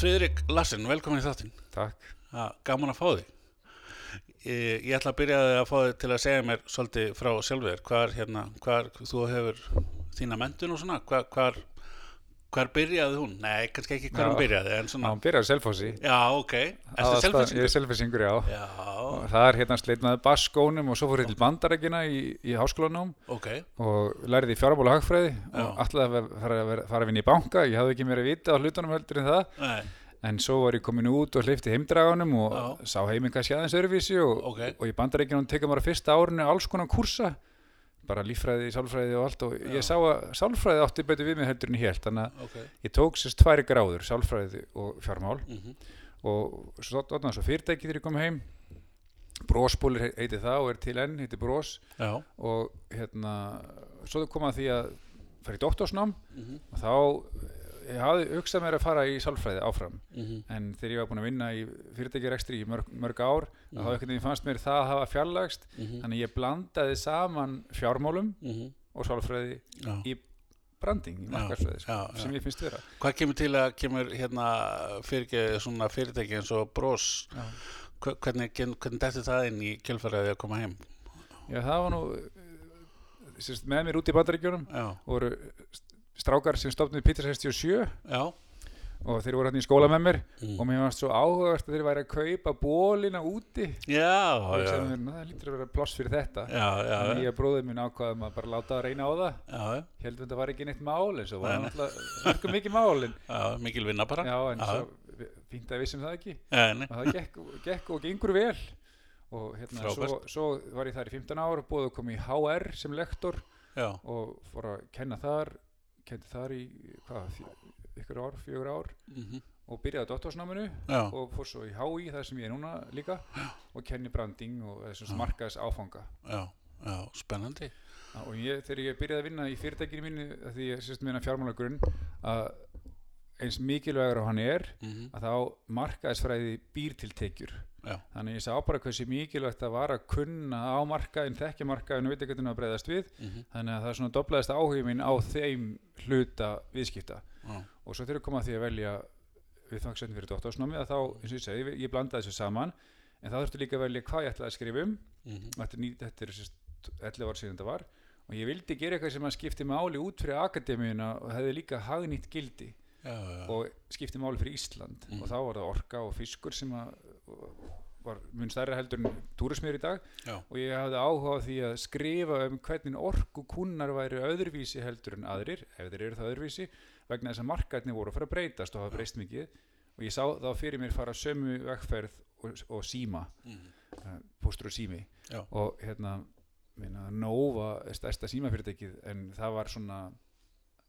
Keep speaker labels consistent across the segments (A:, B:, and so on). A: Friðrik Lassen, velkomin í þáttinn.
B: Takk.
A: Ha, Gaman að fá þig. Ég, ég ætla að byrja að fá þig til að segja mér svolítið frá sjálfur. Hvar, hérna, hvar þú hefur þína mentun og svona, hvar, hvar, hvar byrjaði hún? Nei, kannski ekki hvar
B: Já.
A: hún byrjaði, en
B: Ná,
A: svona...
B: hann byrjaði á Selfossi.
A: Já, ok. Er það
B: Ég
A: sjálfur?
B: er selfisingur, já.
A: Já,
B: Og Það er hérna sleitnaði basskónum og svo fór ég til bandarækina í, í háskólanum
A: ok.
B: og læriði fjármála hagfræði og
A: Já.
B: alltaf fara, að vera- fara að vinna í banka. Ég hafði ekki mér að vita á hlutunum heldur en það.
A: Nei,
B: En svo var ég komin út og hlifti heimdraganum og
A: Já.
B: sá heiminn kannski aðeins öðruvísi og,
A: Ok.
B: og í bandarækina tekur maður á fyrsta árinu alls konar kursa bara líffræði, sálfræði og allt og ég sá að sálfræði átti betur við mig heldur en ég held þannig að
A: ok.
B: ég tók sérst tværi gráður, sálfræði og fjármál
A: Mm
B: og svo þarna svo fyrirtæki þegar ég kom heim brósbúlir heiti það og er til enn heiti brós
A: Já,
B: og hérna svo kom að því að fara í doktorsnám
A: mhm,
B: og þá ég hafði hugsað mér að fara í sálfræði áfram
A: mhm,
B: en þegar ég var búin að vinna í fyrirtækjarekstri í mörg, mörg ár mm. þá ekkert fannst mér það að hafa fjarlægst
A: mhm,
B: þannig að ég blandaði saman fjármálum
A: mhm.
B: og sálfræði
A: Já,
B: í branding, í
A: Já,
B: markarsfræði sko,
A: já, já.
B: sem ég finnst vera
A: Hvað kemur til að kemur hérna fyrir, svona fyrirtæki eins og brós
B: Já.
A: Hve- hvernig, gen- hvernig dætti það inn í kjölfæraði að koma heim?
B: Já, það var nú eh, sérst, með mér út í bandaríkjunum
A: Já,
B: voru st- strákar sem stofnuði Peter 67
A: já,
B: og þeir voru hérna í skóla með mér
A: Mm.
B: og mér varst svo áhugavert að þeir væri að kaupa bólina úti
A: já,
B: og ég
A: já,
B: sagði mér, "Ná, það lítur að vera pláss fyrir þetta
A: já, já,
B: en
A: já,
B: ég bróðið minn ákvaðum að bara láta að reyna á það
A: já,
B: heldum þetta var ekki neitt mál en svo var
A: Nei, nei.
B: náttúrulega mörgum mikið mál en,
A: já, mikil vinna bara.
B: já, en
A: já,
B: svo vi- fínt að við vissum það ekki
A: já, nei,
B: og það gekk, gekk og gengur vel og hérna, svo,
A: Frábært.
B: svo var ég þar í 15 ár búið að koma í HR sem lektor
A: já,
B: og fór að kenna þar kenni þar í hvað, fjö- ykkur ár, fjögur ár
A: mhm,
B: og byrjaði á doktorsnáminu
A: já,
B: og fór svo í HÍ þar sem ég er núna líka og kenni branding og þessum markaðis áfanga Ah,
A: já, já, spennandi.
B: og ég, þegar ég byrjaði að vinna í fyrirtækinu mínu af því ég sérst minna fjármálagrunn að eins mikilvægur og hann er
A: Mhm,
B: að þá markaðisfræði býr til tekjur
A: Já.
B: þannig ég sá bara hversu mikilvægt að vara að kunna á markaðin, þekkja markaðin og veit ekki hvernig að breyðast við
A: mhm,
B: þannig að það er svona doblaðist áhugin minn á þeim hluta viðskipta
A: já,
B: og svo þegar kom að því að velja viðfangsefni fyrir doktorsnámi að þá, eins og ég segi, ég blandaði þessu saman en þá þurfti líka að velja hvað ég ætlaði að skrifa um
A: mhm,
B: þetta er, ný, þetta er sérst 11 ár síðan þetta var og ég vildi gera eitthvað sem að skipti máli út fyrir akademíuna og hefði líka hagnýtt gildi
A: já, já,
B: og skipti máli fyrir Ísland
A: Mhm.
B: og þá var það orka og fiskur sem að og var mun stærra heldur en túrismir í dag
A: já,
B: og ég hafði áhuga á því að skrifa um hvernig orku kunnar væri öðruvísi heldur en aðrir, ef þeir eru það öðruvísi vegna þess að markaðni voru að fara að breytast og hafa breyst mikið og ég sá þá fyrir mér fara sömu vegferð og, og síma,
A: mhm,
B: uh, pústur og sími
A: Já.
B: og hérna minna, Nova er stærsta símafyrirtækið en það var svona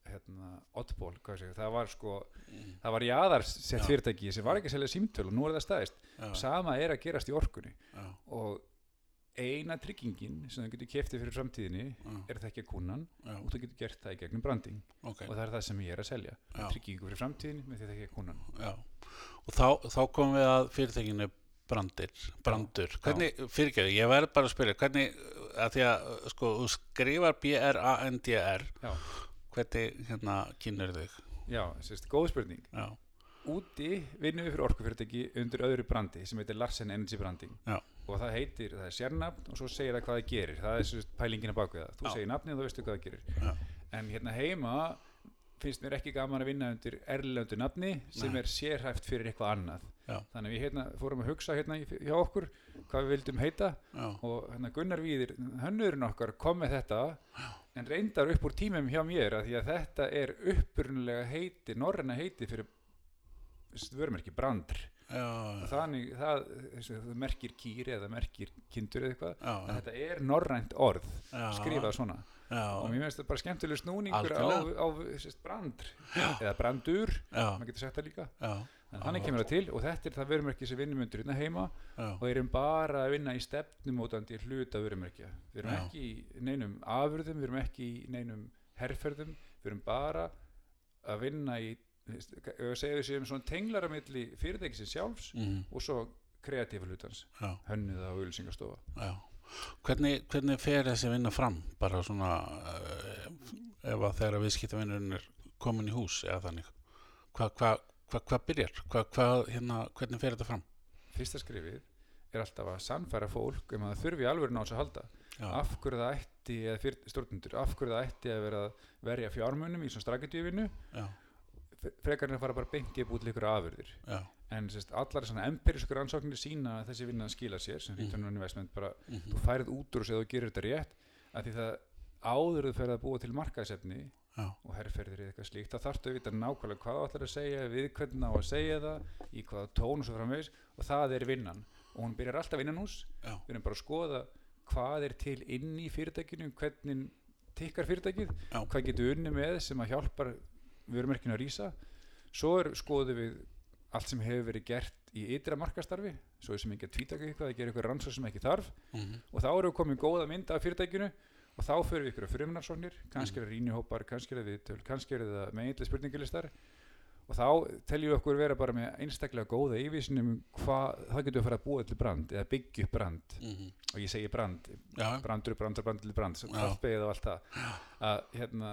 B: hérna, oddból, hvað segja, það var sko
A: mhm,
B: það var jaðarsett
A: Já.
B: fyrirtæki sem var ekki að selja símtöl og nú er það staðist
A: já,
B: sama er að gerast í orkunni
A: já,
B: og eina tryggingin sem þú getur keftið fyrir framtíðinni
A: já,
B: er að þekkja kunnan
A: já,
B: og þú getur gert það í gegnum branding
A: ok,
B: og það er það sem ég er að selja
A: Já.
B: tryggingu fyrir framtíðinni með því að þekkja kunnan
A: já. Og þá, þá komum við að fyrirtækinu brandir, brandur. Hvernig, fyrirgefðu, ég verð bara að spyrja, hvernig, að því að, sko, þú skrifar B-R-A-N-D-R,
B: Já,
A: hvernig, hérna, kynur þig?
B: já sérst, góð spurning
A: Já,
B: Úti vinnum við fyrir orkufyrirtæki undir öðru brandi sem heitir Larsen Energy Branding
A: Já.
B: og það heitir, það er sérnafn og svo segir það hvað það gerir það er sérst pælingina bak við það þú
A: Já.
B: segir nafnið og þá veistu hvað það gerir
A: já,
B: en hérna heima finnst mér ekki gaman að vinna undir erlendu nafni sem
A: Nei.
B: er sérhæft fyrir eitthvað annað
A: Já.
B: þannig að við hérna, fórum að hugsa hérna í- hjá okkur hvað við vildum heita
A: já,
B: og hérna Gunnar Víðir, hönnurinn okkar kom með þetta en reyndar upp úr tímum hjá mér að því að þetta er upprunlega heiti, norræna heiti fyrir þessi vörumerki brandr
A: já,
B: Og
A: já,
B: þannig það, þessi, það merkir kýri eða merkir kindur eða eitthvað að
A: já,
B: þetta er norrænt orð
A: Já.
B: skrifað svona og
A: já,
B: mér finnst það bara skemmtileg snúningur á,
A: Algjörlega.
B: á sérst, brand eða brandur,
A: já,
B: maður getur sagt það líka
A: já,
B: en þannig kemur það til og þetta er það vörumerki sem vinnum undir hérna heima
A: já,
B: og erum bara að vinna í stefnumótandi hluta vörumerkja við erum
A: Já.
B: ekki í neinum afurðum, við erum ekki í neinum herferðum, við erum bara að vinna í ef við segjum við séum svona tenglara milli fyrirtækisins sjálfs
A: mhm,
B: og svo kreatífa hlutans,
A: já,
B: hönnuða og auðlýsingastofa
A: já. Hvernig, hvernig fer þessi vinna fram? Bara svona, eh, ef að þegar að viðskiptavinnurinn er komin í hús, eða þannig. Hvað, hvað, hvað hva byrjar, hvað, hvað, hérna, hvernig fer þetta fram
B: fyrsta skrifið er alltaf að sannfæra fólk um að það þurfi alveg náttúrulega að halda
A: já,
B: af hverju það ætti, eða fyrir stjórnundur af hverju það ætti að vera að verja fjármunum í svona strategíuvinnu,
A: já,
B: frekar en að fara bara beint í að búið til ykkur afurðir
A: já,
B: en sérst, allar svona empirísku rannsóknir sína að þessi vinna skila sér sem
A: Mhm.
B: return on investment bara,
A: mhm,
B: þú færið út úr þessu ef þú gerir þetta rétt að því það áður en þú ferð að búa til markaðsefni
A: já,
B: og herrferðir eða eitthvað slíkt þá þarftu að vita nákvæmlega hvað þú ætlar að segja við hvernig á að segja það í hvaða tón og svo framvegis og það er vinnan og hún byrjar alltaf innan hús
A: já,
B: við erum bara að skoða hvað er til inn í fyrirtækinu hvernig tikkar fyrirtækið
A: Já.
B: hvað getum við unni með sem að hjálpar vörumerkinu að rýsa svo er, skoðum við allt sem hefur verið gert í ytra markastarfi svo sem ekki að tvítaka eitthvað, að gera eitthvað rannsóð sem ekki þarf
A: mhm,
B: og þá erum við komin góða mynd af fyrirtækinu og þá förum við ykkur að fruminarsóknir kannski er það rýnihópar, kannski er það viðtöl kannski er það meginlega spurningulistar og þá teljum við okkur vera bara með einstaklega góða yfirsinum hvað, það getum við að fara að búa til brand eða byggja upp brand
A: mhm,
B: og ég segi brand,
A: já,
B: brandur, brandur, brandur, brand
A: Já.
B: kaffbeið og allt það að hérna,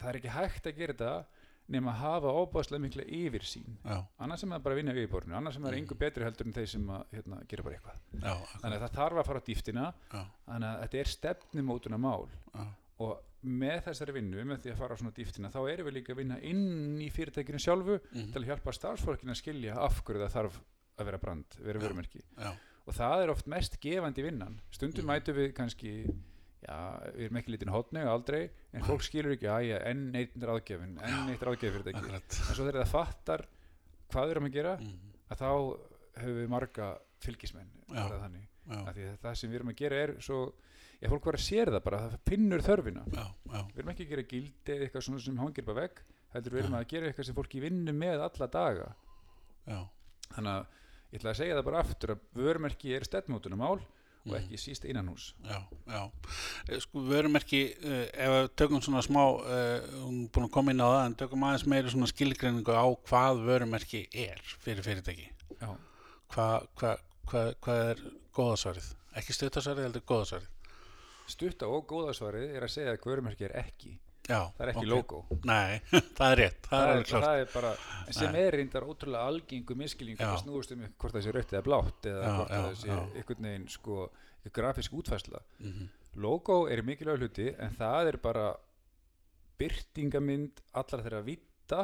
B: það er ekki hægt að gera þetta nema að hafa óbáslega mikla yfirsýn
A: já,
B: annars sem það bara að vinna yfirborinu, annars sem það er
A: Mhm.
B: engu betri heldur en þeir sem að hérna, gera bara eitthvað
A: já,
B: þannig að það þarf að fara á dýftina
A: já,
B: þannig að þetta er stefnumótuna mál
A: já,
B: og með þessari vinnu, með því að fara á svona dýftina þá erum við líka að vinna inn í fyrirtækinu sjálfu
A: mhm,
B: til að hjálpa starfsfólkinu að skilja af hverju það þarf að vera brand, vera
A: Já.
B: vörumerki
A: já,
B: og það er oft mest gefandi vinnan stundum
A: Mhm.
B: mætum við kannski já, við erum ekki lítinn hotni aldrei en fólk skilur ekki, já, enn einn ráðgefin enn eitt ráðgefin fyrirtæki
A: akkurat
B: en svo þegar það fattar hvað við erum að gera
A: mhm,
B: að þá höfum við marga fylgismenn
A: Já.
B: orðað þannig
A: já,
B: af því að það sem við erum að gera er svo, já fólk var að sér það bara, það finnur þörfina
A: já, já,
B: við erum ekki að gera gildi eða eitthvað svona sem hangir bara vekk, heldur við erum að gera eitthvað sem fólki vinnu með alla daga
A: já
B: þannig að ég ætla að segja það bara aftur að vörumerki er stefnmótunumál og ekki
A: Mm.
B: síst innanhús
A: já, já. Eh, Sko, vörumerki, uh, ef við tökum svona smá, uh, hún er búin að koma inn á það, en tökum aðeins meiri svona skilgreiningu á hvað vörumerki er fyrir fyrirtæki.
B: já,
A: Hvað hva, hva, hva er góðasvarið? Ekki stöttasvarið, heldur góðasvarið.
B: stutta og góðasvarið er að segja að vörumerki er ekki
A: Já,
B: það er ekki
A: ok.
B: logo
A: Nei, það er rétt, það, er alveg klart.
B: það er bara, en sem er reyndar ótrúlega algengu miskilingu
A: Já.
B: að snúðust um hvort það sé rautt eða blátt eða
A: Já,
B: hvort
A: já,
B: það sé
A: já.
B: einhvern veginn sko, grafísk útfærsla
A: Mm
B: logo er mikilvæg hluti en það er bara byrtingamynd allar þeirra vita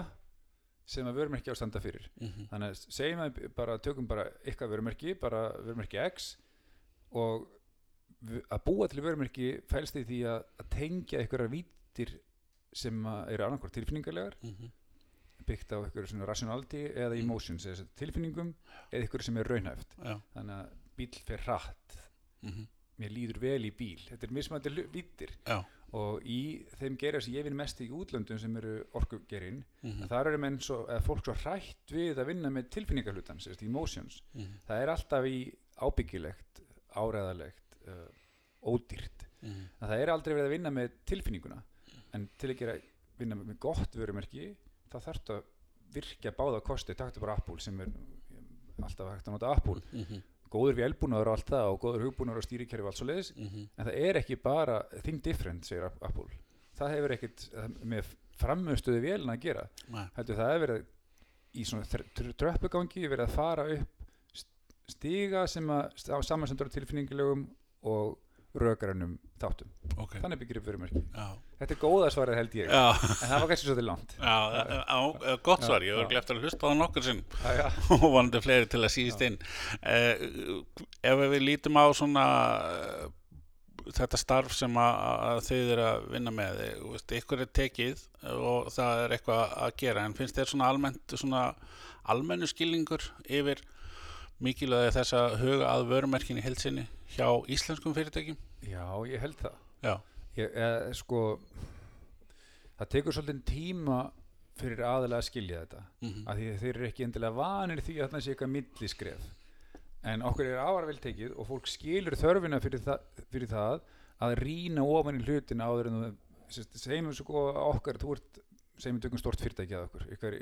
B: sem að vörumerki á að standa fyrir
A: -hmm.
B: þannig að segjum að við bara tökum bara ykkar vörumerki, bara vörumerki X og v- að búa til vörumerki fælst í því að, að tengja einhverjar vítir sem að eru annarkvort tilfinningarlegar
A: mhm,
B: byggt á einhverju svona rationality eða emotions, eða sem sagt tilfinningum eða einhverju sem er raunhæft
A: Já,
B: þannig að bíl fer hratt
A: mm -hmm.
B: mér líður vel í bíl, þetta er mismandi vítir
A: já.
B: og í þeim gerir sem ég vinn mest í útlöndum sem eru orkugerinn
A: Mm
B: mm. þar eru menn svo, eða fólk svo hrætt við að vinna með tilfinningarhlutan, sérst, emotions
A: mhm,
B: það er alltaf í ábyggilegt áræðalegt, uh, ódýrt
A: mhm,
B: að það er aldrei verið að vinna með tilfinninguna en til ekki að vinna með með gott vörumerki, þá þarftu að virkja báða kosti, taktu bara Apple sem er um, alltaf hægt að nota Apple
A: mhm,
B: góður vélbúnaður og allt það og góður hugbúnaður og stýrikerfi og allt svo leiðis
A: mhm.
B: en það er ekki bara think different, segir App- Apple það hefur ekkit eh, með framöðstöðu vélina að gera
A: Nei.
B: heldur það hefur verið í svona þr- tr- tröppugangi verið að fara upp st- stiga sem að samansendur tilfinningilegum og rökarunum þáttum
A: Ok,
B: þannig byggir upp verumerki
A: já.
B: þetta er góða svarið held ég en
A: Já,
B: það var kannski svolítið langt
A: já, já, já, gott svar, ég
B: Já,
A: var
B: já.
A: gleft að hlusta á það nokkur sinn.
B: Já, já.
A: og vonandi fleiri til að síðist inn eh, ef við lítum á svona eh, þetta starf sem að, að þau eru að vinna með eh, þú veist, ykkur er tekið og það er eitthvað að gera en finnst þér svona almennt svona almennu skilningur yfir mikilvæði þess að huga að vörumerkinni helsini hjá íslenskum fyrirtækjum
B: já ég held það
A: já,
B: ég, eh, sko það tekur svolítið tíma fyrir aðalega að skilja þetta
A: mhm,
B: að því að þeir eru ekki endilega vanir því að það sé eitthvað milliskref en okkur er afar vel tekið og fólk skilur þörfina fyrir það, fyrir það að rýna ofan í hlutin áður en þú sérst, segjum við sko að okkar þú ert, segjum við tökum stort fyrirtæki að okkur ykkar,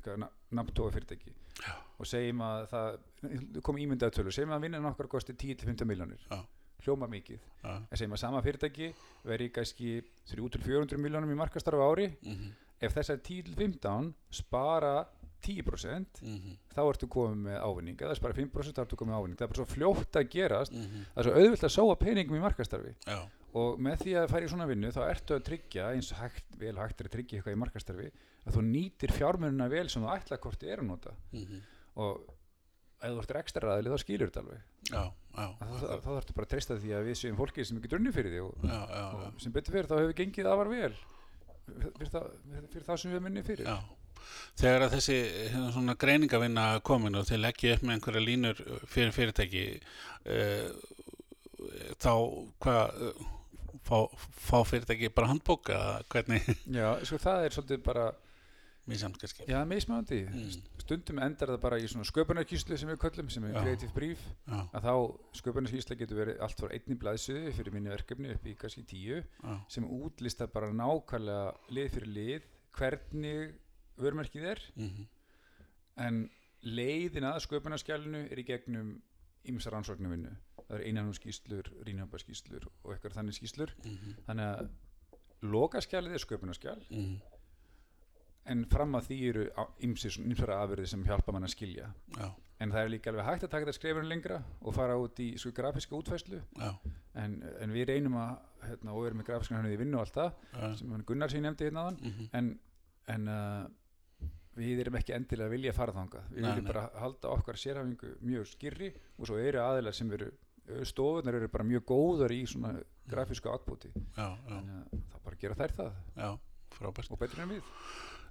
B: ykkar nafntóa fyrirtæki
A: Já.
B: og segjum að það kom ímyndað tölur, segjum að vinnan okkar kosti 10-15 miljónir,
A: Já.
B: hljóma mikið
A: já,
B: en segjum að sama fyrirtæki veri kannski 3-400 miljónum í markastarfa ári
A: mhm,
B: ef þessar 10-15 spara 10%
A: mm -hmm,
B: þá ertu komið með ávinning eða spara 5% þá ertu komið með ávinning það er bara svo fljótt að gerast það er svo auðvilt að sóa peningum í markastarfi
A: mhm, já,
B: og með því að fara í svona vinnu þá ertu að tryggja eins og hægt, vel hægt er að tryggja eitthvað í markastarfi að þú nýtir fjármunina vel sem þú ætla hvort er að nota
A: mm
B: og ef þú ert ekstra ræðileg þá skilur þetta alveg
A: já, já,
B: þá, þá, þá þarftu bara að treysta því að við séum fólki sem ekki drunni fyrir því og,
A: já, já, já.
B: og sem betur fyrir þá hefur gengið afar vel fyrir það, fyrir það sem við minni fyrir
A: Já. Þegar að þessi hérna, svona greiningavinna komin og þeir leggja upp með einhverja línur fyrir fyrirtæki uh, þá hvað eh, fá, fá fyrirtæki bara handbók eða hvernig
B: Já, sko það er svolítið bara
A: mísamskirski
B: Já, mismöndi.
A: Mm.
B: Stundum endar það bara í svona sköpunarkíslu sem við köllum, sem er
A: Já.
B: creative brief,
A: Já,
B: að þá sköpunarkísla getur verið allt frá einni blaðsöðu fyrir minni verkefni upp í kannski tíu,
A: já,
B: sem útlista bara nákvæmlega lið fyrir lið, hvernig vörmerkið er,
A: mhm,
B: en leiðin að sköpunarskjálinu er í gegnum ymsa rannsóknarvinnu. Það er einanum skýslur, rínhjöpa skýslur og eitthvað þannig skýslur.
A: mhm,
B: Þannig að lokaskjalið er sköpunarskjal,
A: mhm,
B: en fram að því eru ymsara afurði sem hjálpa mann að skilja
A: já,
B: en það er líka alveg hægt að taka þetta skrefinu lengra og fara út í sko, grafíska útfæslu
A: já,
B: en, en við reynum að hérna, og við erum með grafískan hönnuð í vinnu og allt það
A: já,
B: sem hann Gunnar sér nefndi hérna aðan
A: mhm,
B: en, en uh, við erum ekki endilega að vilja fara þangað við
A: Nei,
B: viljum
A: nei.
B: bara halda okkar sérhafingu mjög skýrri og svo eru aðilar sem eru stofunar eru bara mjög góðar í svona grafísku outputi
A: já, já,
B: þannig að það bara gera þær það
A: já, frábært.
B: og betur en við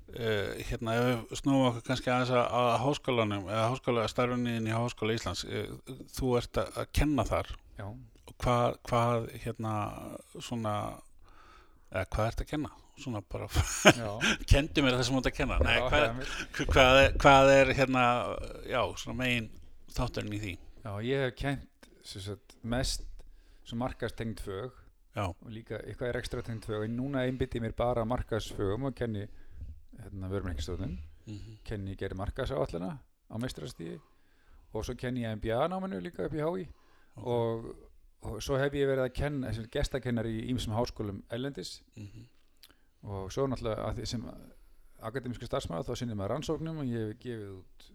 A: Uh, hérna, ef við snúum okkur kannski aðeins að, að háskólanum eða háskóla, starfinniðin í Háskóla Íslands, uh, þú ert að, að kenna þar
B: Já.
A: hvað, hvað hérna svona eða hvað ertu að kenna svona bara,
B: Já.
A: kendi mér það sem þú ert að kenna Nei,
B: Já,
A: hvað,
B: Emil.
A: hvað, er, hvað er hérna já, svona megin þátturinn í því
B: Já, ég hef kent sem sagt, mest sem markastengt fög
A: já,
B: og líka eitthvað er ekstra tengt fög en núna einbytti ég mér bara að markasfögum og kenni hérna, vörmengistöðun
A: mm
B: kenni gerði markasáallina á mestrastíði og svo kenni ég MBA náminu líka upp í HÍ
A: Ok.
B: og, og svo hef ég verið að kenna sem gestakennari í ýmsum háskólum ellendis
A: -hmm.
B: og svo náttúrulega að því sem akademísku starfsmaður þá sinnir maður rannsóknum og ég hef gefið út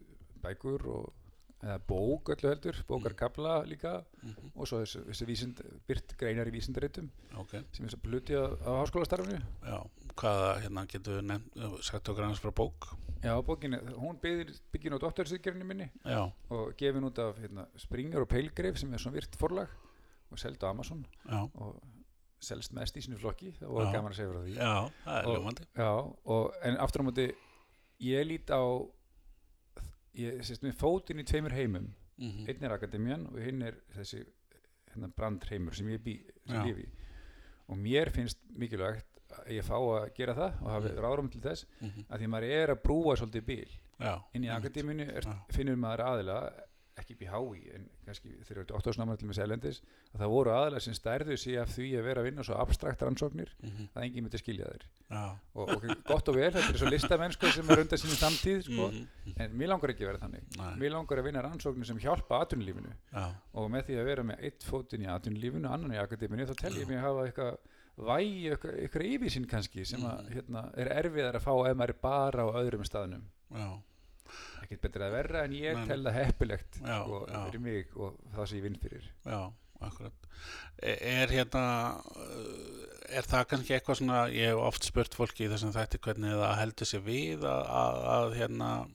B: bækur og eða bók öllu heldur, bókarkabla líka
A: Mhm.
B: og svo þessi, þessi vísind, byrt greinar í vísindaritum
A: ok,
B: sem er svo pluti af, af háskólastarfinu
A: já hvaða hérna getur við nefnt sagt okkur hans frá bók
B: Já, bókin, er- hún byggir, byggir á doktorsýðgerinu minni
A: já,
B: og gefin út af hérna, Springer og Pelgrif sem er svona virt forlag og seld á Amazon
A: já,
B: og selst mest í sinni flokki það var
A: Já.
B: gaman að segja frá því
A: já, það er
B: Og-
A: ljómandi
B: Já, og, en aftur á móti ég lít á ég sést með fótinn í tveimur heimum
A: mm -hmm.
B: einn er akademian og hinn er þessi hérna, brandheimur sem ég bý, sem
A: Já.
B: lifi í. og mér finnst mikilvægt að ég fá að gera það og hafi
A: Mm.
B: ráðrum til þess að því maður er að brúa svolítið bíl
A: mhm, já, Mhm,
B: inn í
A: einmitt.
B: akademínu er,
A: Já.
B: finnur maður aðila ekki BHI en kannski þegar þetta óttóðsnámar til með selendis að það voru aðila sem stærðu sig af því að vera að vinna svo abstrakt rannsóknir
A: Mhm.
B: að enginn myndi skilja þeir
A: já,
B: og, og gott og vel, þetta er svo listamenn sko, sem er undan sinni samtíð sko.
A: Mhm.
B: en mér langar ekki að vera þannig
A: Nei.
B: mér langar að vinna rannsóknir sem hjálpa atvinnulífinu
A: já,
B: og með því að vera með eitt fótinn í atvinnulífinu og annan í akademínu þá tel ég mig að hafa eitthvað vægi, eitthvað, eitthvað yfirsinn kannski sem
A: Mhm.
B: að, hérna, er erfiðar að fá ef maður er bara á öðrum staðnum
A: já,
B: ekkert betra að verra en
A: Nei,
B: ég
A: nei.
B: tel það heppilegt
A: Já,
B: sko,
A: já.
B: fyrir mig og það sem ég vinn fyrir
A: já akkurat E- er hérna uh, er það kannski eitthvað svona ég hef oft spurt fólki í þessum þætti hvernig það heldur sér við að, að, að hérna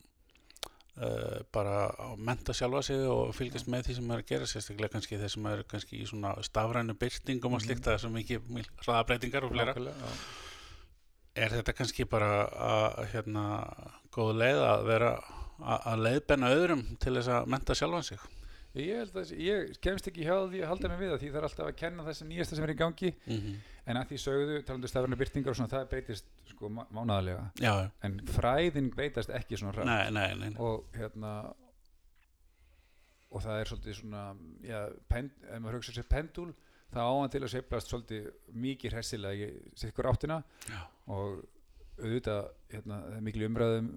A: uh, bara að menta sjálfa sig og fylgjast með því sem maður er að gera sérstaklega kannski þeir sem eru kannski í svona stafrænu byrtingum og slíkt að það er svo mikið mikið hraðabreitingar og fleira
B: Mhm. Nákvæmlega, já.
A: er þetta kannski bara að hérna góð leið að vera að, að leiðbenna öðrum til þess að menta sjálfan sig
B: ég, held að, ég kemst ekki hjá því að halda mig við það því það er alltaf að kenna það sem nýjasta sem er í gangi
A: mm -hmm.
B: en að því sögðu talandu stafræna byrtingar og svona það breytist sko mánaðalega
A: já, já.
B: en fræðin breytast ekki svona rætt
A: nei, nei, nei, nei.
B: og hérna og það er svolítið svona já, pend, ef maður hugsa sér pendúl þá á hann til að sveiflast svolítið mikið hressilega í sikkur áttina
A: Já.
B: og auðvitað hérna, það er mikil umræðum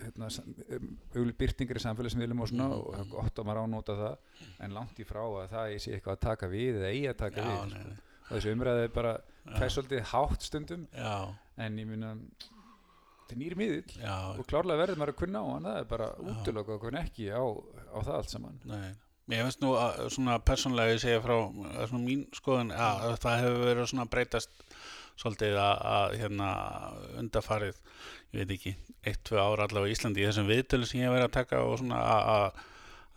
B: hérna, auðvitað byrtingar í samfélagsmiðlum og svona
A: Mhm.
B: og það er gott að maður ánóta það en langt í frá að það sé eitthvað að taka við eða eigi að taka
A: já,
B: við
A: nei, nei.
B: og þessi umræði er bara
A: Já.
B: fær svolítið hátt stundum
A: Já,
B: en ég minna þetta er nýr miðill
A: já,
B: og klárlega verður maður að kunna á hann það er bara útlöku að kunna ekki á, á það allt saman
A: Nei, ég finnst nú að svona persónlega ég segja frá að svona mín skoðun að það hefur verið svona að breytast svolítið að, að hérna undarfarið, ég veit ekki eitt, tvö ára allavega í Íslandi í þessum viðtölu sem ég hef verið að taka og svona að, að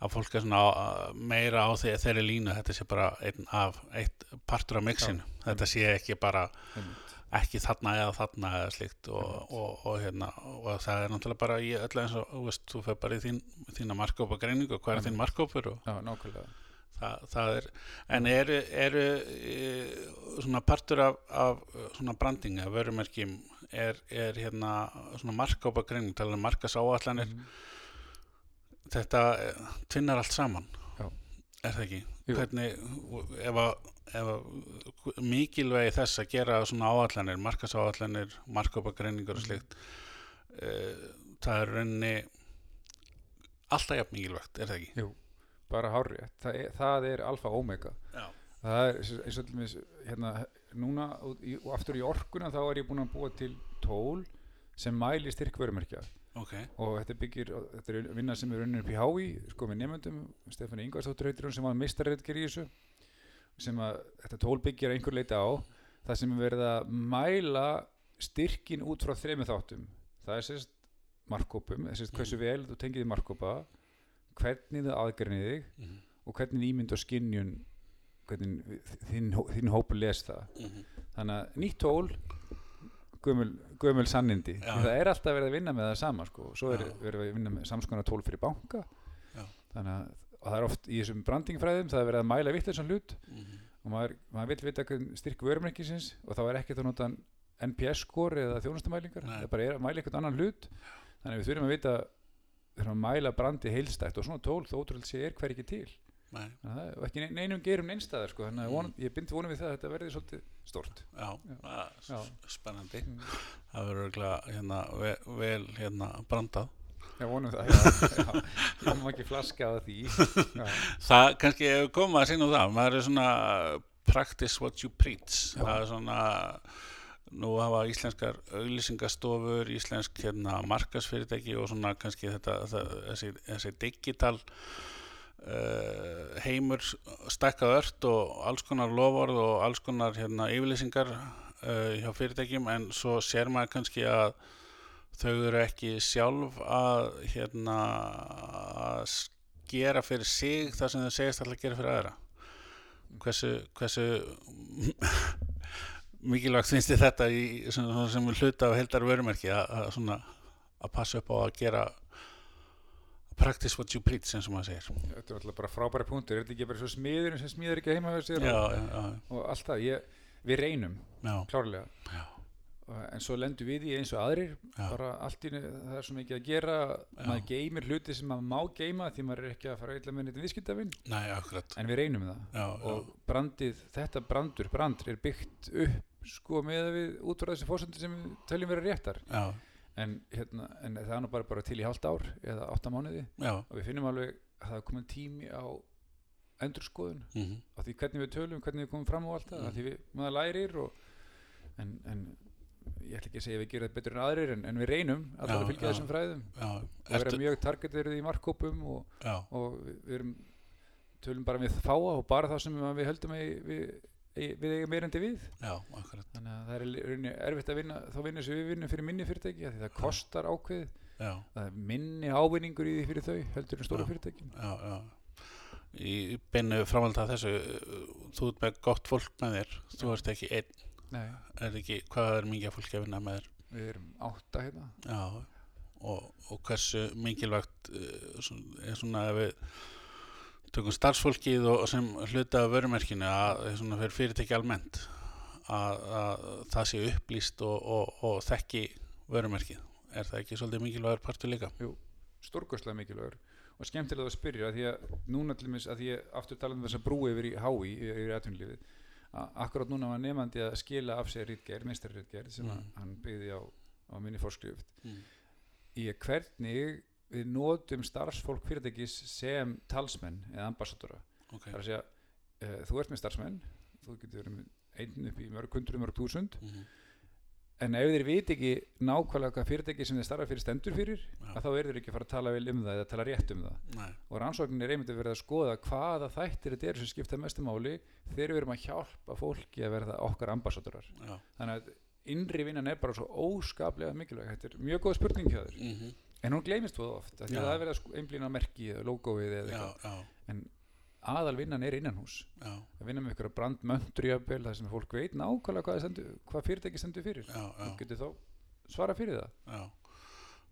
A: að fólk er svona á, að- meira á þeir, þeirri línu, þetta sé bara einn af eitt partur af mixinu, þetta sé ekki bara
B: Einmitt.
A: ekki þarna eða þarna eða slíkt og, og, og, hérna, og það er náttúrulega bara í öllu eins og þú veist, þú fer bara í þín, þína markkópa greiningu, hvað er þín markkópur og
B: Já, nákvæmlega
A: það, það er, en eru, eru eh, svona partur af, af eh, svona brandinga, vörumerkjum er, er hérna svona um markkópa greining, talaðu markas áallanir
B: Mhm.
A: þetta eh, tvinnar allt saman
B: Já.
A: er það ekki?
B: Jú.
A: hvernig, ef að, ef að mikilvægi þess að gera svona áallanir, markasáallanir markkópagreiningar
B: Mhm.
A: og slikt uh, það er í rauninni alltaf jafn mikilvægt er það ekki?
B: Jú, bara hárið það er, það er alfa og omega
A: Já.
B: það er eins og- eins og til mér hérna, núna og, í, og aftur í orkuna þá er ég búin að búa til tól sem mæli styrkvörumerkja
A: ok,
B: og þetta byggir, á- þetta er vinna sem er unnur upp í HÍ, sko með nefndum Stefán Ingvarsdóttur heitir hún sem var mistarreitger í þessu sem að þetta tól byggir að einhver leita á það sem er verið að mæla styrkin út frá þremur þáttum það er sérst markkópum það er sérst hversu vel þú tengið í markkópa hvernig þú aðgrinni þig
A: Mhm.
B: og hvernig ímynd og skinjun hvernig þi- þinn, hó- þinn hópur les það
A: Mhm.
B: þannig að nýtt tól gömul, gömul sannindi
A: Já.
B: það er alltaf verið að vinna með það sama sko. svo er
A: Já.
B: verið að vinna með samskona tól fyrir banka
A: Já.
B: þannig að og það er oft í þessum brandingfræðum það er verið að mæla vitleisann hlut
A: Mhm.
B: og maður, maður vill vita hvernig styrk vörumerkisins og þá er ekkert að nota NPS-skor eða þjónustamælingar
A: Nei.
B: það bara er að mæla eitthvað annan hlut þannig að við þurfum að vita þurfum að mæla brandi heilstætt og svona tól þó ótrúlega sé er hver ekki til
A: nei,
B: þannig að það er og ekki ne- neinum gerum neinstæðar sko. þannig
A: Mm.
B: að von, ég byndi vonum við það að þetta verði svolítið stort
A: já,
B: Já.
A: já.
B: Já.
A: spennandi
B: Mm.
A: það verður örugglega, hérna, ve- vel hérna brandað
B: Já, vonum það, já, já. Ég má ekki flaska að því. Já,
A: það kannski ef við komum að sinna það maður er svona uh, practice what you preach það er svona nú hafa íslenskar auglýsingastofur íslensk hérna markasfyrirtæki og svona kannski þetta það, þessi, þessi digital uh, heimur stakkað ört og alls konar loforð og alls konar hérna yfirlýsingar uh, hjá fyrirtækjum en svo sér maður kannski að þau eru ekki sjálf að hérna að gera fyrir sig það sem þau segist alltaf að gera fyrir aðra hversu, hversu mikilvægt finnst þið þetta í, sem, sem er hluta af heldar vörumerki að, að, svona, að passa upp á að gera practice what you preach eins og maður segir já,
B: þetta er alltaf bara frábæri punktur, er þetta ekki bara svo smiðurinn sem smiður ekki heima fyrir sér og,
A: já, já,
B: og allt það, ég, við reynum,
A: já,
B: klárlega.
A: Já.
B: Og- En svo lendum við í eins og aðrir,
A: Já.
B: bara allt í einu, það er svo mikið að gera,
A: Já.
B: maður geymir hluti sem maður má geyma því maður er ekki að fara eitthvað með neitt viðskiptafinn,
A: næ, akkurat
B: en við reynum það.
A: já, já,
B: og brandið, þetta brandur, brandur er byggt upp sko með við út frá þessi fósendur sem við teljum vera réttar
A: já,
B: en, hérna, en það er nú bara, bara til í hálft ár eða átta mánuði
A: já
B: og við finnum alveg að það er komin tími á endurskoðun
A: mhm,
B: á því hvernig við tölum, hvernig við komum fram og allt það, af því við, maður lærir og, en, en ég ætla ekki að segja að við gerum það betur en aðrir en, en við reynum allar
A: Já,
B: að fylgja
A: já.
B: þessum fræðum
A: já,
B: og vera
A: ertu,
B: mjög targetirði í markkópum og,
A: já,
B: og við, við erum tölum bara við fáa og bara það sem að við höldum að við, við, við eigum meirandi við
A: já, akkurat
B: þannig að það er í rauninni erfitt að vinna þá vinna sem við vinnum fyrir minni fyrirtæki af því það kostar ákveð
A: já
B: það er minni ávinningur í því fyrir þau heldur en stóra
A: Já.
B: fyrirtækin
A: já, já. Í beinu framhald að þessu, þú ert með gott fólk með þér, þú ert ekki einn,
B: Nei,
A: er ekki, hvað er mingja fólk að vinna með þér?
B: við erum átta hérna
A: Já, og, og hversu mingilvægt er svona ef við tökum starfsfólkið og og sem hluta af vörumerkinu að eh, svona fyrir fyrirtæki almennt að, að það sé upplýst og, og, og þekki vörumerkið. Er það ekki svolítið mingilvægur partur líka?
B: stórkostlega mikilvægur og skemmtilega að spyrja af því að núna til mis að því að aftur tala um þess að brúi yfir í hái yfir atvinnulífið að akkurat núna var nefandi að skila af sér rítgerð, meistari rítgerð sem
A: Mm.
B: hann byggði á, á minni fórskrift
A: Mm.
B: í að hvernig við notum starfsfólk fyrirtækis sem talsmenn eða ambassadora
A: Ok.
B: það er að segja, eh, uh, þú ert með starfsmenn þú getur verið með einn upp í mörg hundruð, mörg túsund
A: Mhm.
B: en ef þeir viti ekki nákvæmlega hvað fyrirtæki sem þeir starfa fyrir stendur fyrir
A: Já.
B: að þá eru þeir ekki að fara að tala vel um það eða tala rétt um það
A: Nei,
B: og rannsóknin er einmitt að verða að skoða hvaða þættir þetta eru sem skipta mestu máli þegar við erum að hjálpa fólki að verða okkar ambassadorar
A: já,
B: þannig að innri vinnan er bara svo óskaplega mikilvæg þetta er mjög góð spurning hjá þér
A: mhm,
B: en hún gleymist þú oft af því
A: Já.
B: að það er verið að sko- einblína á merki eða logoið eða
A: já,
B: eitthvað
A: já,
B: en aðal vinnan er innanhús
A: já,
B: að vinna með ykkur að brandmöntur jafnvel þar sem fólk veit nákvæmlega hvað, það stendur, hvað fyrirtæki stendur fyrir
A: já, já.
B: þú getur þá svara fyrir það
A: Já,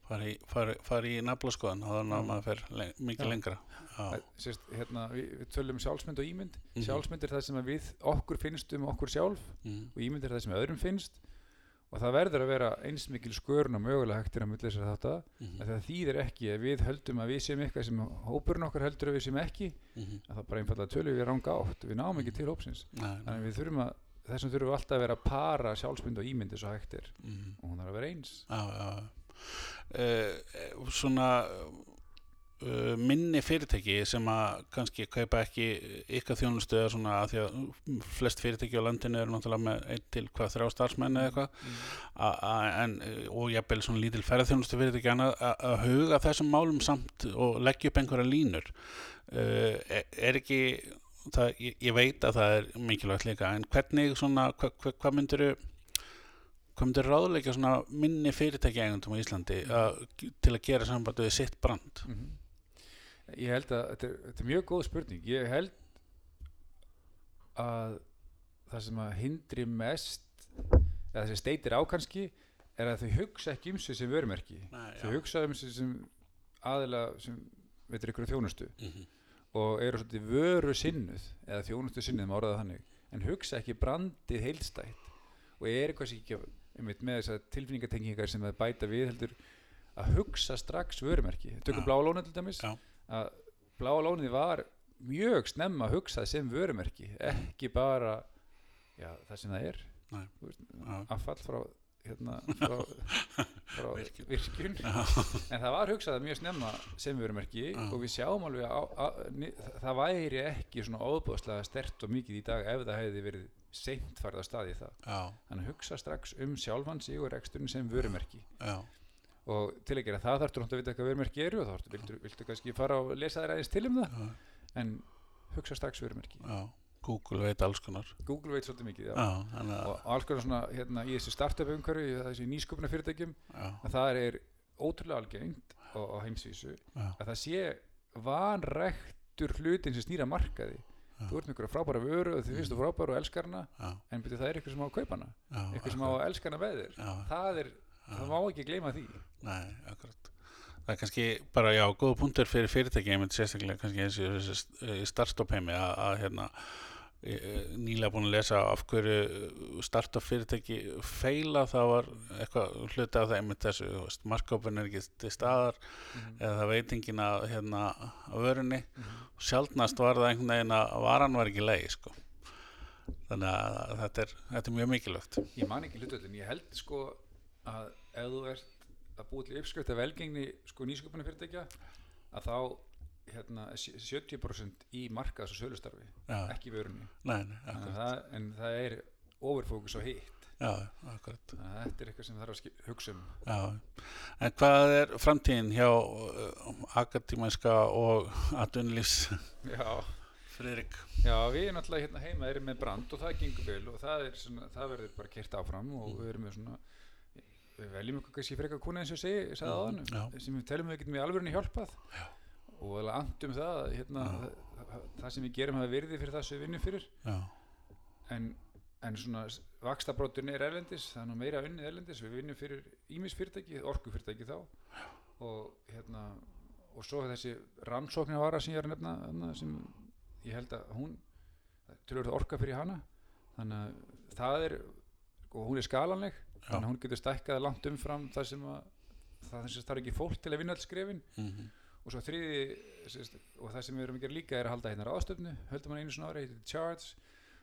A: fara í, fari, fari í naflaskoðan og þannig
B: Já.
A: að maður fer leng, mikið
B: Já.
A: lengra. Já,
B: Að, sérst, hérna, við, við tölum um sjálfsmynd og ímynd
A: Mhm.
B: sjálfsmynd er það sem að við okkur finnst um okkur sjálf
A: mm,
B: og ímynd er það sem öðrum finnst og það verður að vera eins mikil skörun og mögulega hægtir að myndleysa þetta
A: mm,
B: að það þýðir ekki að við höldum að við séum eitthvað sem hópurinn okkar heldur að við séum ekki
A: mm,
B: að það bara einfallega tölum við ranga átt við náum ekki til hópsins þannig
A: nei,
B: að við þurfum að þessum þurfum við alltaf að vera að para sjálfsmynd og ímyndi svo hægt er
A: mm,
B: og hún þarf að vera eins
A: já, já. Uh, svona uh, minni fyrirtæki sem að kannski kaupa ekki ykkar þjónustu eða svona að því að flest fyrirtæki á landinu eru náttúrulega með einn til hvað þrjá starfsmenn eða eitthvað A- a- en, eh, og jafnvel svona lítil ferðarþjónustu fyrir ekki annað a- að huga að þessum málum samt og leggja upp einhverja línur uh, er, er ekki það, ég, ég veit að það er mikilvægt líka en hvernig svona, hva- hva- hvað myndir hvað myndir ráðleika svona minni fyrirtæki eigundum á Íslandi að, til að gera sambandi við sitt brand
B: Mhm. ég held að þetta er, þetta er mjög góð spurning ég held að það sem að hindri mest eða það sem steitir á kannski er að þau hugsa ekki um sig sem vörumerki
A: Nei,
B: þau hugsa um sig sem aðila sem veitir ykkur þjónustu
A: Mhm.
B: og eru svolítið vöru sinnuð eða þjónustu sinnuð má orðaða þannig en hugsa ekki brandið heildstætt og er eitthvað sem ekki einmitt, með þessar tilfinningatengingar sem það bæta við heldur að hugsa strax vörumerki tökum
A: Já.
B: bláa lónið til dæmis
A: Já.
B: að bláa lónið var mjög snemma að hugsa sem vörumerki ekki bara já, það sem það er
A: Nei.
B: Þú veist,
A: Já.
B: affall frá hérna, frá, frá
A: Virkjun.
B: virkjun
A: Já.
B: en það var hugsað mjög snemma sem vörumerki
A: Já.
B: og við sjáum alveg á, á, ni- það væri ekki svona óbúðslega stert og mikið í dag ef það hefði verið seint farið á staði það
A: já,
B: þannig að hugsa strax um sjálfan sig og reksturinn sem vörumerki
A: já,
B: og til að gera það þarftur hann að vita hvað vörumerki eru og þá ertu- viltu, viltu kannski fara og lesa þær aðeins til um það
A: já,
B: en hugsa strax vörumerki
A: já Google veit alls konar
B: Google veit svolítið mikið já.
A: já, þannig að
B: og alls konar svona hérna, í þessu startup umhverju þessi nýsköpuna fyrirtækjum
A: já,
B: að það er ótrúlega algengt á, á heimsvísu
A: já,
B: að það sé vanræktur hlutin sem snýra markaði
A: Já.
B: þú ert með einhverja frábæra vöru og þið finnst þú frábæra og elskar hana
A: já,
B: en byrju það er ykkur sem á að kaupa hana
A: já
B: ykkur sem á að elska hana með þér
A: já,
B: það, er, það má ekki gleyma því
A: Nei, akkurat. Það er kannski bara, já, góða punktur fyrir fyrirtæki, ég myndi sérstaklega kannski eins og þessi eh, startup heimi að, að hérna, ég- ég nýlega búin að lesa af hverju startup fyrirtæki feila, það var eitthvað hluti af það einmitt þessu, þú veist, markkópin er ekki til staðar eða það veit enginn að, hérna, að vörunni. Sjaldnast var það einhvern veginn að varan var ekki leið, sko. Þannig að þetta er, þetta er mjög mikilvægt.
B: ég man ekki hlutöldin, ég held sko að ef þú ert að búa til uppskrift af velgengni sko nýsköpuna fyrirtækja að þá hérna, sé- 70% í markaðs og sölustarfi
A: Já,
B: ekki vörunni
A: nei, nei,
B: Þannig
A: akkurat.
B: að það, en það er overfókus á hitt
A: Já, akkurat.
B: þannig að þetta er eitthvað sem þarf að skip- hugsa um
A: Já, en hvað er framtíðin hjá uh, akadímæska og atvinnlýs
B: já
A: Friðrik?
B: Já, við erum alltaf hérna heima erum með brand og það gengur vel og það, er svona, það verður bara kert áfram og við erum með svona við veljum okkur kannski frekar kuna eins og ég segi, sagði áðan
A: Já.
B: sem við telum við getum í alvörunni hjálpað
A: Já.
B: og alveg andum það að, hérna,
A: Já.
B: það, það sem við gerum hafa virði fyrir það sem við vinnum fyrir
A: Já,
B: en, en svona vakstabrótun er erlendis, það er nú meira unnið erlendis við vinnum fyrir ímis fyrirtæki, orku fyrirtæki þá og hérna og svo þessi rannsóknarvara sem ég er að nefna þarna sem ég held að hún tölur það orka fyrir hana þannig að það er og hún er skalanleg þannig að hún getur stækkað langt umfram þar sem að það sem þarf ekki fólk til að vinna alls skrefin
A: mhm,
B: og svo þriði sérst, og það sem við erum að gera líka er að halda hérna ráðstöfnu höldum hann einu svona ári, heitir Charts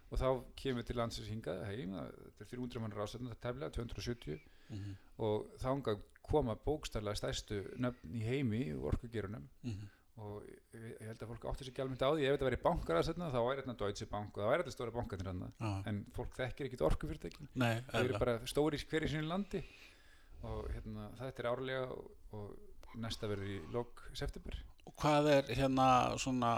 B: og þá kemur til landsins hingað heim það- þetta er 300 mann ráðstöfnu, það tefla 270
A: mhm,
B: og þangað koma bókstarlega stærstu nöfn í heimi orkugerunum
A: mhm,
B: og ég, ég held að fólk átti sér ekki alveg á því ef þetta væri bankar að setna þá væri þetta Deutsche Bank og það væri þetta stóra bankarnir hann
A: já,
B: en fólk þekkir ekkit orkufyrirtækin
A: nei,
B: þau eru
A: eðlilega.
B: bara stóri hver í sínu landi og hérna, þetta er árlega og, og næsta verður í lok september
A: Og hvað er hérna svona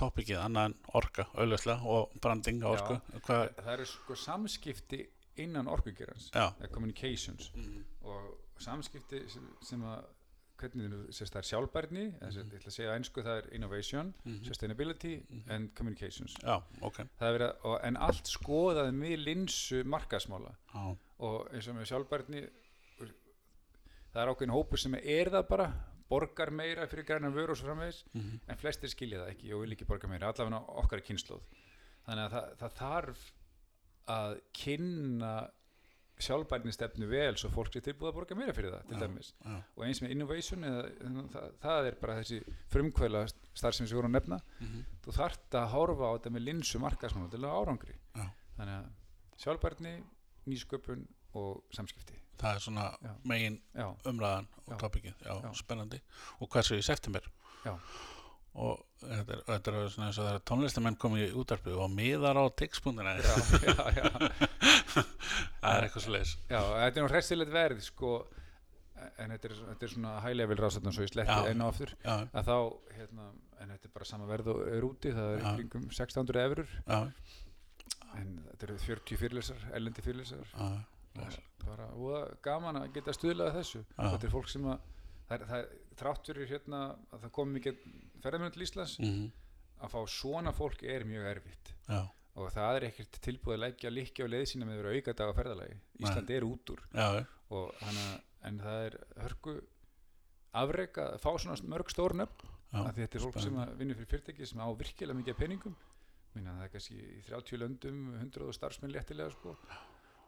A: topikið annað en orka, auðvitað og branding á
B: Já.
A: orku hvað,
B: það eru sko samskipti innan orkugerans
A: já,
B: eða communications
A: Mhm.
B: og samskipti sem, sem að hvernig þið nú sérst það er sjálfbærni mm -hmm. ég ætla að segja einsku það er innovation sustainability and communications
A: mhm. já, ok
B: það er verið að, og, en allt skoðað með linsu markasmála
A: já,
B: og eins og með sjálfbærni það er ákveðin hópur sem er það bara borgar meira fyrir grænar vöru og svo framvegis
A: Mhm.
B: en flestir skilja það ekki og vil ekki borga meira allavega okkar kynnslóð þannig að það, það þarf að kynna sjálfbærni stefnu vel svo fólk sé tilbúið að borga meira fyrir það til
A: Já.
B: dæmis
A: já,
B: og eins með innovation eða, það, það er bara þessi frumkvæla starf sem við vorum að nefna
A: mhm,
B: þú þart að horfa á þetta með linsu markaðsmála til að árangri
A: Já.
B: þannig að sjálfbærni, nýsköpun og samskipti
A: það er svona
B: Já.
A: megin
B: já,
A: umræðan
B: Já.
A: og topikið, já,
B: Já.
A: spennandi og hversu í september
B: Já.
A: og þetta er, þetta er svona eins og það er tónlistamenn komið í útarpið og miðar á textbúndina
B: já, já, já,
A: það er eitthvað svo leis
B: já þetta er nú hressilegt verð sko, en þetta er, þetta er svona hælevel ráðsatna svo ég sletti
A: Já.
B: enn og aftur
A: já,
B: að þá, hérna, en þetta er bara sama verð og er úti, það er
A: Já.
B: í kringum 600 eurur,
A: já,
B: en þetta eru 40 fyrirlesar, ellendi fyrirlesar
A: já,
B: og bara voða gaman að geta stuðlað að þessu
A: Já.
B: þetta er fólk sem að það, er- það, er- þrátt fyrir hérna að það komi mikið ferðamenn til Íslands
A: mhm,
B: að fá svona fólk er mjög erfitt
A: já,
B: og það er ekkert tilbúið að leggja líkja á leið sína með að vera auka dag á ferðalagi Ísland er út úr
A: já,
B: og hana, en það er hörku afrek að fá svona mörg stórnöfn
A: já,
B: af því þetta er fólk sem
A: spennandi.
B: að vinnur fyrir fyrirtæki sem á virkilega mikið af peningum minna það er kannski í 30 löndum 100 starfsmenn léttilega sko.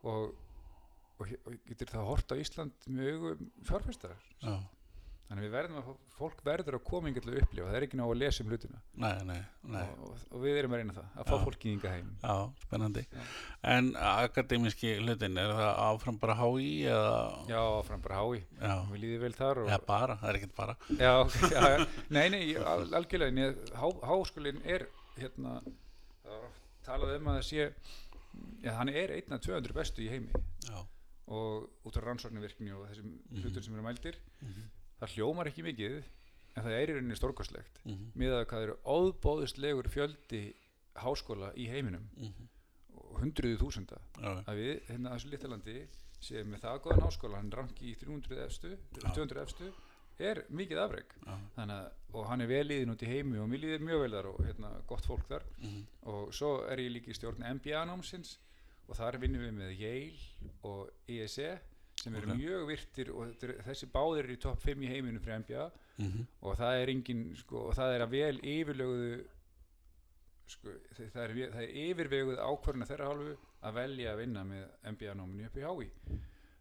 B: og, og, he- og getur það hort á Ísland með augum fjárfæstar
A: já
B: þannig að við verðum að fá- fólk verður að koma yngjöld að upplifa, það er ekki ná að lesa um hlutina
A: nei, nei, nei
B: og, og, og við erum að reyna það, að fá
A: Já.
B: fólki ynga heim
A: Já, spennandi.
B: Já.
A: En akademíski hlutin, er það áfram bara HÍ eða?
B: já, fram bara hái,
A: Já,
B: við líðum vel þar og,
A: eða bara, það er ekkert bara.
B: já, ok, já, já, nei, nei, ég- al- algjörlega nei, há, háskólinn er hérna, það var oft talað um að það sé já, hann er einn af 200 bestu í heimi
A: Já,
B: og út á rannsóknarvirkni og þessum
A: Mhm.
B: hlutum sem eru mældir
A: Mhm.
B: það hljómar ekki mikið en það er í rauninni stórkostlegt
A: mhm,
B: með að hvað eru óbóðustlegur fjöldi háskóla í heiminum
A: mhm,
B: og hundruðu þúsunda
A: já,
B: að við hérna á þessu litalandi sem með það góðan háskóla hann rangi í 300 efstu, 200 efstu er mikið afreg
A: já,
B: Þannig, að- og hann er vel íðin út í heimi og mér líður mjög vel þar og hérna, gott fólk þar
A: mhm,
B: og svo er ég líka í stjórn MBA-námsins og þar vinnum við með Yale og ESE sem eru
A: Ok.
B: mjög virtir og þetta eru- þessi báðir eru í topp 5 í heiminum fyrir MBA
A: mhm,
B: og það er engin sko, og það er að vel yfirlöguðu sko, þe- það er, ve- það er yfirveguð ákvörðuna þeirra hálfu að velja að vinna með MBA-náminu upp í hái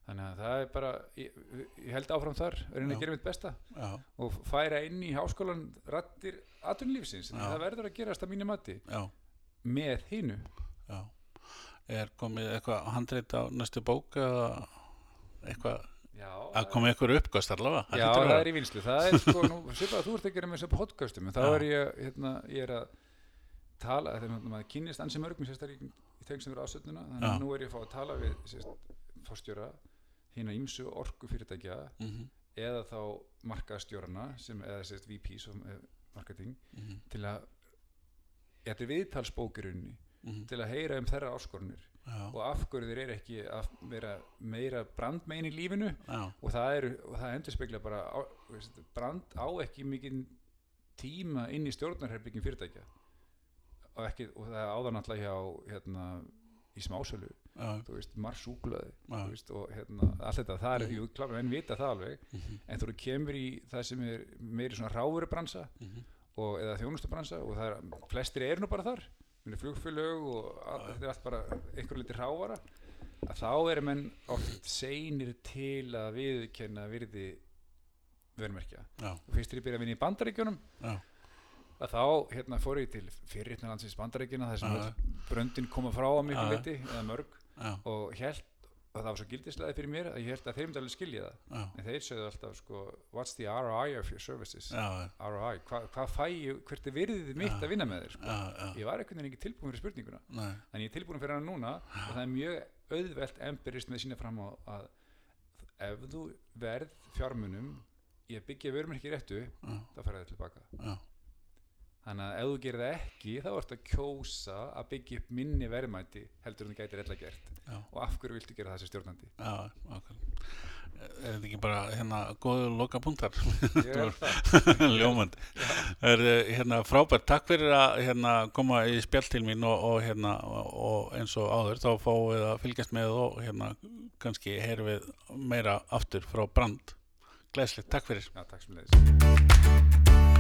B: þannig að það er bara ég, ég held áfram þar, að reyna
A: Já.
B: að gera mitt besta
A: já,
B: og færa inn í háskólan rattir atvinnlífsins, þannig
A: Já.
B: að það verður að gerast að mínu mati
A: já,
B: með hinu
A: já. Er komið eitthvað handreit á næstu bók eða eitthvað,
B: Já,
A: að komið eitthvað uppgöst allavega?
B: já
A: hlýtur að
B: það
A: vera.
B: er í vinslu það er sko, nú, svipað að þú ert að gera með þessu podcastum en þá
A: Já.
B: er ég, hérna, ég er að tala, þetta er náttúrulega maður kynnist ansi mörgum sérstaklega í, í tengsum við ásönduna þannig
A: Já.
B: að nú er ég að fá að tala við sérst, fórstjóra hinn að ímsu orku fyrirtækja
A: Mhm,
B: eða þá markaðstjórana sem, eða sérst VP sem er marketing
A: mhm,
B: til að þetta er viðtalsbókirunni
A: mhm,
B: til að heyra um þeirra áskorunir
A: já,
B: og af hverju þeir eru ekki að vera meira brandmein í lífinu
A: já,
B: og það, er, og það endur spekla bara á, veist, brand á ekki mikið tíma inn í stjórnarherbyggin fyrirtækja og, ekki, og það áðan alltaf hjá hérna, í smásölu,
A: já,
B: þú veist, marsúklaði
A: Já.
B: þú veist, og hérna, allt þetta það er, jú, klára, menn vita það alveg
A: mhm,
B: en þú kemur í það sem er meiri svona ráfurubransa
A: mhm,
B: og, eða þjónustubransa og það er, flestir eru nú bara þar minni flugfélög og all, þetta er allt bara einhver liti rávara að þá eru menn oft seinir til að viðkenna virði vermerkja
A: já,
B: og fyrst er ég byrja að vinna í bandaríkjunum
A: já,
B: að þá hérna fór ég til fyrirritna landsins bandaríkjuna þar sem
A: Já.
B: öll bröndin koma frá að miklu
A: Já.
B: liti eða mörg
A: já,
B: og held og það var svo gildislega fyrir mér að ég held að þeir myndi alveg skilja það
A: já,
B: en þeir sögðu alltaf sko what's the ROI of your services
A: já, já,
B: ROI, hva, hvað fæ ég, hvert er virðið mitt
A: Já.
B: að vinna með þér sko.
A: já, já,
B: ég var einhvern veginn ekki tilbúin fyrir spurninguna
A: nei,
B: en ég er tilbúin fyrir hana núna og það er mjög auðvelt empirist með sína fram á að ef þú verð fjármunum ég byggja vörum ekki réttu
A: já,
B: þá færðu það tilbaka
A: já,
B: þannig að ef þú gerir það ekki þá ertu að kjósa að byggja upp minni verðmæti heldur en þú gætir illa gert
A: Já.
B: og af hverju viltu gera það sem stjórnandi
A: já, ok. Er þetta ekki bara hérna góðu loka punktar?
B: ég er það
A: Ljómand. Er, hérna, frábært, takk fyrir að hérna, koma í spjall til mín og, og, hérna, og eins og áður þá fáum við að fylgjast með og hérna, kannski heyrum við meira aftur frá brand. Gleðslegt, takk fyrir.
B: Já, takk sem leiðis